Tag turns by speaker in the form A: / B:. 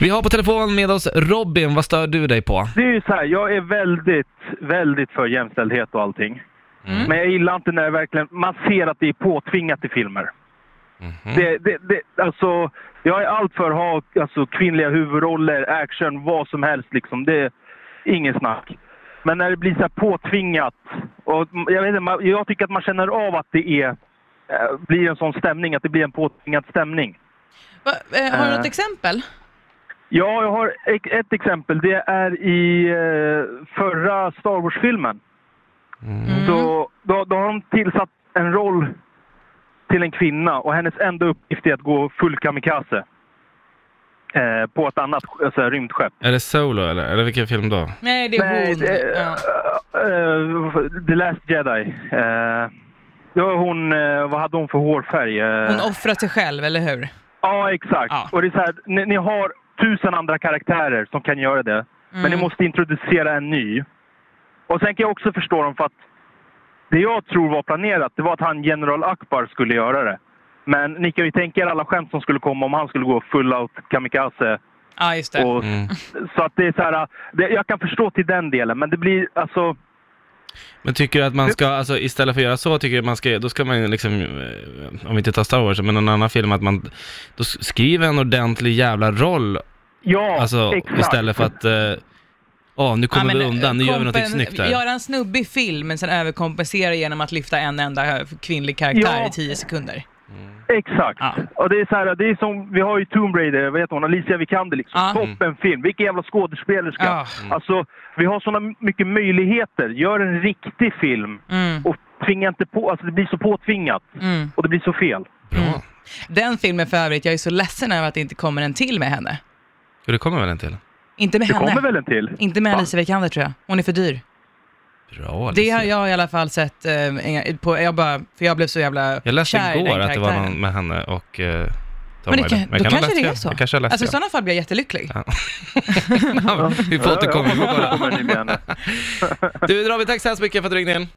A: Vi har på telefon med oss Robin, vad stör du dig på?
B: Det är ju så här, jag är väldigt, väldigt för jämställdhet och allting. Men jag gillar inte när det verkligen, man ser att det är påtvingat i filmer. Det, det, det, alltså, jag är allt för att ha alltså, kvinnliga huvudroller, action, vad som helst liksom. Det är ingen snack. Men när det blir så här påtvingat. Och, jag, vet inte, man- jag tycker att man känner av att det är, eh, blir en sån stämning, att det blir en påtvingad stämning.
C: Va, eh, har du
B: Eh.
C: något exempel?
B: Ja, jag har e- ett exempel. Det är i eh, förra Star Wars-filmen.
D: Mm.
C: Mm.
B: Så, då, då har de tillsatt en roll till en kvinna och hennes enda uppgift är att gå full kamikaze. Eh, på ett annat sk- alltså, rymdskepp.
D: Är det Solo eller? Eller vilken film då?
C: Nej, det är hon.
B: det,
C: ja.
B: eh, The Last Jedi. Eh, det var hon, eh, vad hade hon för hårfärg? Eh,
C: Hon offrar sig själv, eller hur?
B: Ja, exakt.
C: Ja.
B: Och det är så här, ni, ni har tusen andra karaktärer som kan göra det. Men
D: Mm.
B: ni måste introducera en ny. Och sen kan jag också förstå dem för att det jag tror var planerat, det var att han general Akbar skulle göra det. Men ni kan ju tänka er alla skämt som skulle komma om han skulle gå full out kamikaze.
C: Ja, just det.
D: Mm.
B: Och, Så att det är så här, det, jag kan förstå till den delen, men det blir alltså...
D: Men tycker du att man ska, alltså istället för att göra så, tycker du att man ska, då ska man ju liksom, eh, om vi inte tar Star Wars, men någon annan film, att man, då s- skriver en ordentlig jävla roll,
B: Ja,
D: alltså
B: exakt.
D: istället för att, eh, åh nu kommer
C: Ja,
D: vi
C: men,
D: undan, nu gör vi någonting
C: kompen-
D: snyggt här.
C: Göra en snubbig film, men sen överkompensera genom att lyfta en enda eh, kvinnlig karaktär
B: Ja.
C: i tio sekunder.
B: Exakt.
C: Ja.
B: Och det är så här, det är som, vi har ju Tomb Raider, vad heter hon, Alicia Vikander liksom.
C: Ja.
B: Toppenfilm. Vilken jävla skådespelerska.
C: Ja.
B: Alltså, vi har såna mycket möjligheter. Gör en riktig film
C: Mm.
B: och tvinga inte på, alltså det blir så påtvingat.
C: Mm.
B: Och det blir så fel.
D: Bra.
C: Den filmen för övrigt, jag är så ledsen över att det inte kommer en till med henne.
D: Jo, det kommer väl en till?
C: Inte med
B: Det
C: henne.
B: kommer väl en till?
C: Inte med
B: Va?
C: Alicia Vikander tror jag. Hon är för dyr.
D: Bra
C: Det har
D: jag...
C: jag i alla fall sett eh, en- på, jag bara, för jag blev så jävla
D: jag läste
C: kär i den
D: igår att det var
C: karaktären.
D: någon med henne och eh, Tom
C: Men det
D: Hardy.
C: kan,
D: Men
C: då
D: jag ha
C: kanske
D: läst
C: det är
D: fel.
C: så.
D: Jag kanske har läst
C: alltså i
D: fel.
C: sådana fall blir jag jättelycklig.
D: Vi får återkomma, vi får
B: Ja,
D: kolla.
B: ja, men det blir en-
D: Du, Robin, tack så hemskt mycket för att du ringde in.